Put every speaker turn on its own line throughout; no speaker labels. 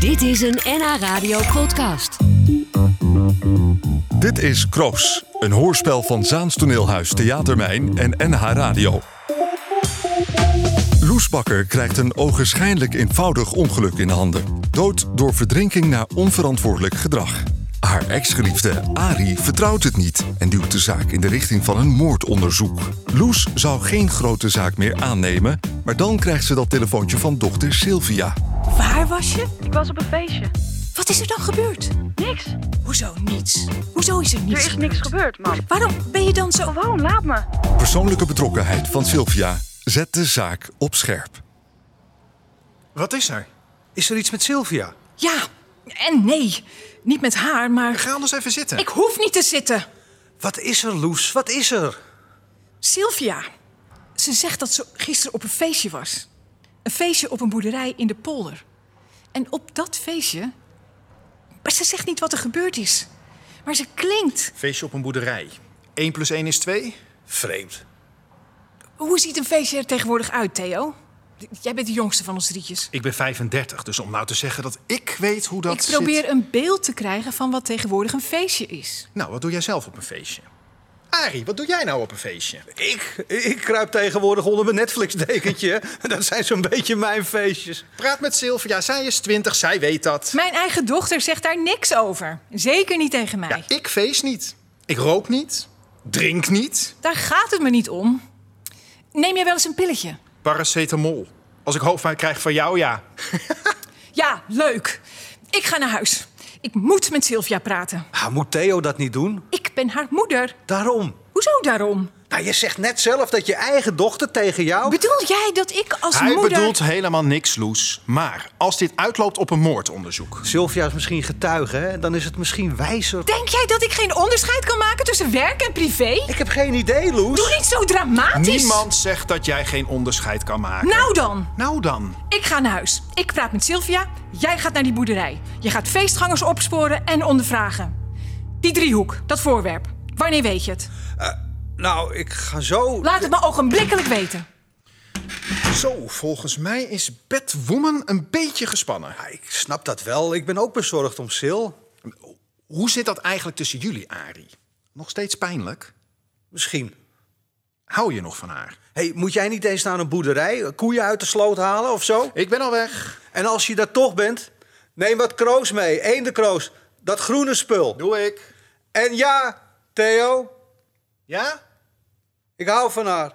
Dit is een NH Radio podcast.
Dit is Kroos, een hoorspel van Zaans Toneelhuis, Theatermijn en NH Radio. Loes Bakker krijgt een ogenschijnlijk eenvoudig ongeluk in de handen. Dood door verdrinking na onverantwoordelijk gedrag. Haar ex-geliefde Ari vertrouwt het niet en duwt de zaak in de richting van een moordonderzoek. Loes zou geen grote zaak meer aannemen, maar dan krijgt ze dat telefoontje van dochter Sylvia.
Waar was je?
Ik was op een feestje.
Wat is er dan gebeurd?
Niks.
Hoezo niets? Hoezo is er
Er
niets
is niks gebeurd, man.
Waarom ben je dan zo...
Waarom laat me?
Persoonlijke betrokkenheid van Sylvia zet de zaak op scherp.
Wat is er? Is er iets met Sylvia?
Ja, en nee. Niet met haar, maar...
Ga anders even zitten.
Ik hoef niet te zitten.
Wat is er, Loes? Wat is er?
Sylvia. Ze zegt dat ze gisteren op een feestje was. Een feestje op een boerderij in de polder. En op dat feestje... Maar ze zegt niet wat er gebeurd is. Maar ze klinkt.
Feestje op een boerderij. 1 plus 1 is 2? Vreemd.
Hoe ziet een feestje er tegenwoordig uit, Theo? Jij bent de jongste van ons drietjes.
Ik ben 35, dus om nou te zeggen dat ik weet hoe dat
Ik probeer
zit...
een beeld te krijgen van wat tegenwoordig een feestje is.
Nou, wat doe jij zelf op een feestje? Arie, wat doe jij nou op een feestje?
Ik, ik kruip tegenwoordig onder mijn Netflix-dekentje. Dat zijn zo'n beetje mijn feestjes.
Praat met Sylvia, zij is 20, zij weet dat.
Mijn eigen dochter zegt daar niks over. Zeker niet tegen mij.
Ja, ik feest niet. Ik rook niet. Drink niet.
Daar gaat het me niet om. Neem jij wel eens een pilletje?
Paracetamol. Als ik hoofdpijn krijg van jou, ja.
Ja, leuk. Ik ga naar huis. Ik moet met Sylvia praten.
Ah, moet Theo dat niet doen?
Ik ben haar moeder.
Daarom.
Hoezo daarom?
Nou, je zegt net zelf dat je eigen dochter tegen jou...
Bedoel jij dat ik als
Oh. Hij
moeder...
bedoelt helemaal niks, Loes. Maar als dit uitloopt op een moordonderzoek...
Sylvia is misschien getuige, hè? Dan is het misschien wijzer.
Denk jij dat ik geen onderscheid kan maken tussen werk en privé?
Ik heb geen idee,
Doe
Loes.
niet zo dramatisch.
Niemand zegt dat jij geen onderscheid kan maken.
Nou dan.
Nou dan.
Ik ga naar huis. Ik praat met Sylvia. Jij gaat naar die boerderij. Je gaat feestgangers opsporen en ondervragen. Die driehoek, dat voorwerp. Wanneer weet je het?
Nou, ik ga zo...
Laat het me ogenblikkelijk weten.
Zo, volgens mij is Batwoman een beetje gespannen.
Ja, ik snap dat wel. Ik ben ook bezorgd om Sil.
Hoe zit dat eigenlijk tussen jullie, Ari? Nog steeds pijnlijk?
Misschien.
Hou je nog van haar?
hey, moet jij niet eens naar een boerderij? eh, Koeien uit de sloot halen of zo?
Ik ben al weg.
En als je daar toch bent, neem wat kroos mee. Eendekroos. Dat groene spul.
Doe ik.
En ja, Theo,
Ja?
ik hou van haar.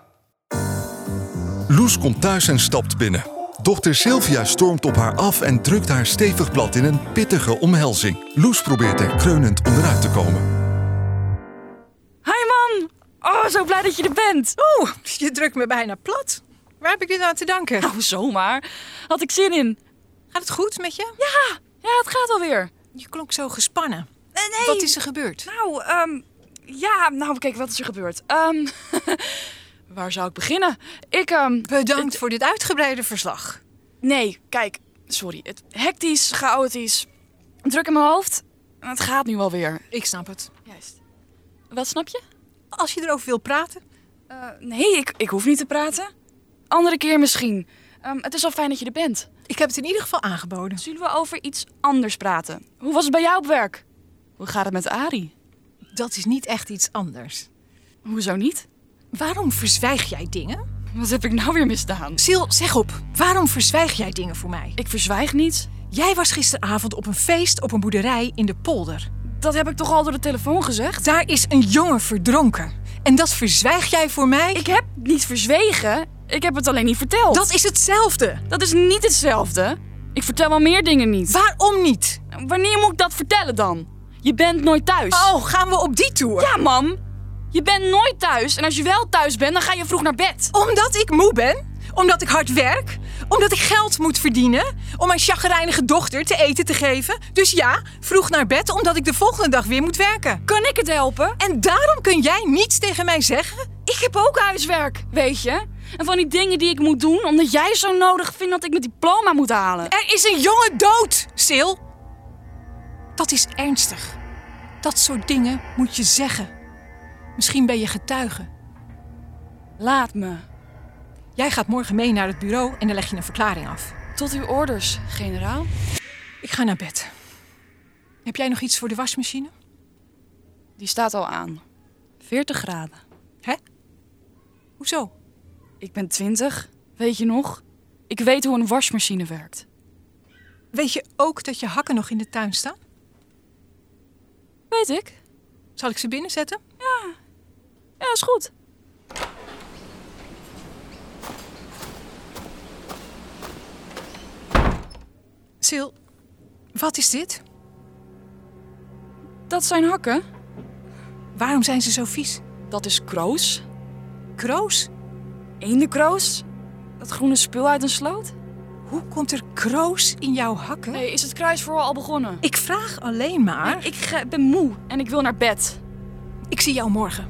Loes komt thuis en stapt binnen. Dochter Sylvia stormt op haar af en drukt haar stevig plat in een pittige omhelzing. Loes probeert er kreunend onderuit te komen.
Hi, man. Oh, zo blij dat je er bent.
Oeh, je drukt me bijna plat. Waar heb ik dit aan te danken?
Nou, zomaar. Had ik zin in.
Gaat het goed met je?
Ja, ja het gaat alweer.
Je klonk zo gespannen.
Nee, Eh, nee.
Wat is er gebeurd?
Nou, ehm, ja, nou, kijk, wat is er gebeurd? Ehm, waar zou ik beginnen? Ik, ehm,
Bedankt voor dit uitgebreide verslag.
nee, kijk, sorry. Het hectisch, chaotisch, druk in mijn hoofd. En Het gaat nu alweer.
Ik snap het.
Juist. Wat snap je?
Als je erover wil praten.
Eh, nee, ik, ik hoef niet te praten. Andere keer misschien. Ehm, het is al fijn dat je er bent.
Ik heb het in ieder geval aangeboden.
Zullen we over iets anders praten? Hoe was het bij jou op werk? Hoe gaat het met Ari?
Dat is niet echt iets anders.
Hoezo niet?
Waarom verzwijg jij dingen?
Wat heb ik nou weer misdaan?
Sil, zeg op. Waarom verzwijg jij dingen voor mij?
Ik verzwijg niets.
Jij was gisteravond op een feest op een boerderij in de polder.
Dat heb ik toch al door de telefoon gezegd?
Daar is een jongen verdronken. En dat verzwijg jij voor mij?
Ik heb niet verzwegen. Ik heb het alleen niet verteld.
Dat is hetzelfde.
Dat is niet hetzelfde. Ik vertel wel meer dingen niet.
Waarom niet?
Wanneer moet ik dat vertellen dan? Je bent nooit thuis.
Oh, gaan we op die tour?
Ja, mam. Je bent nooit thuis. En als je wel thuis bent, dan ga je vroeg naar bed.
Omdat ik moe ben? Omdat ik hard werk? Omdat ik geld moet verdienen? Om mijn chagrijnige dochter te eten te geven? Dus ja, vroeg naar bed omdat ik de volgende dag weer moet werken.
Kan ik het helpen?
En daarom kun jij niets tegen mij zeggen?
Ik heb ook huiswerk, weet je? En van die dingen die ik moet doen, omdat jij zo nodig vindt dat ik mijn diploma moet halen.
Er is een jongen dood, Sil. Dat is ernstig. Dat soort dingen moet je zeggen. Misschien ben je getuige.
Laat me.
Jij gaat morgen mee naar het bureau en dan leg je een verklaring af.
Tot uw orders, generaal.
Ik ga naar bed. Heb jij nog iets voor de wasmachine?
Die staat al aan. 40 graden.
Hè? Hoezo?
Ik ben 20. Weet je nog? Ik weet hoe een wasmachine werkt.
Weet je ook dat je hakken nog in de tuin staan?
Weet ik.
Zal ik ze binnenzetten?
Ja, is goed.
Sil, wat is dit?
Dat zijn hakken.
Waarom zijn ze zo vies?
Dat is kroos.
Kroos?
Eendekroos. Dat groene spul uit een sloot.
Hoe komt er kroos in jouw hakken?
Nee, is het kruisverhoor al begonnen?
Ik vraag alleen maar.
Ik ga- ben moe en ik wil naar bed.
Ik zie jou morgen.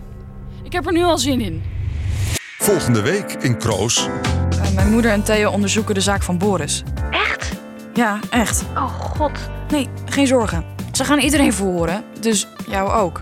Ik heb er nu al zin in.
Volgende week in Kroos.
Eh, Mijn moeder en Theo onderzoeken de zaak van Boris. Echt? Ja, echt. Oh god. Nee, geen zorgen. Ze gaan iedereen verhoren, dus jou ook.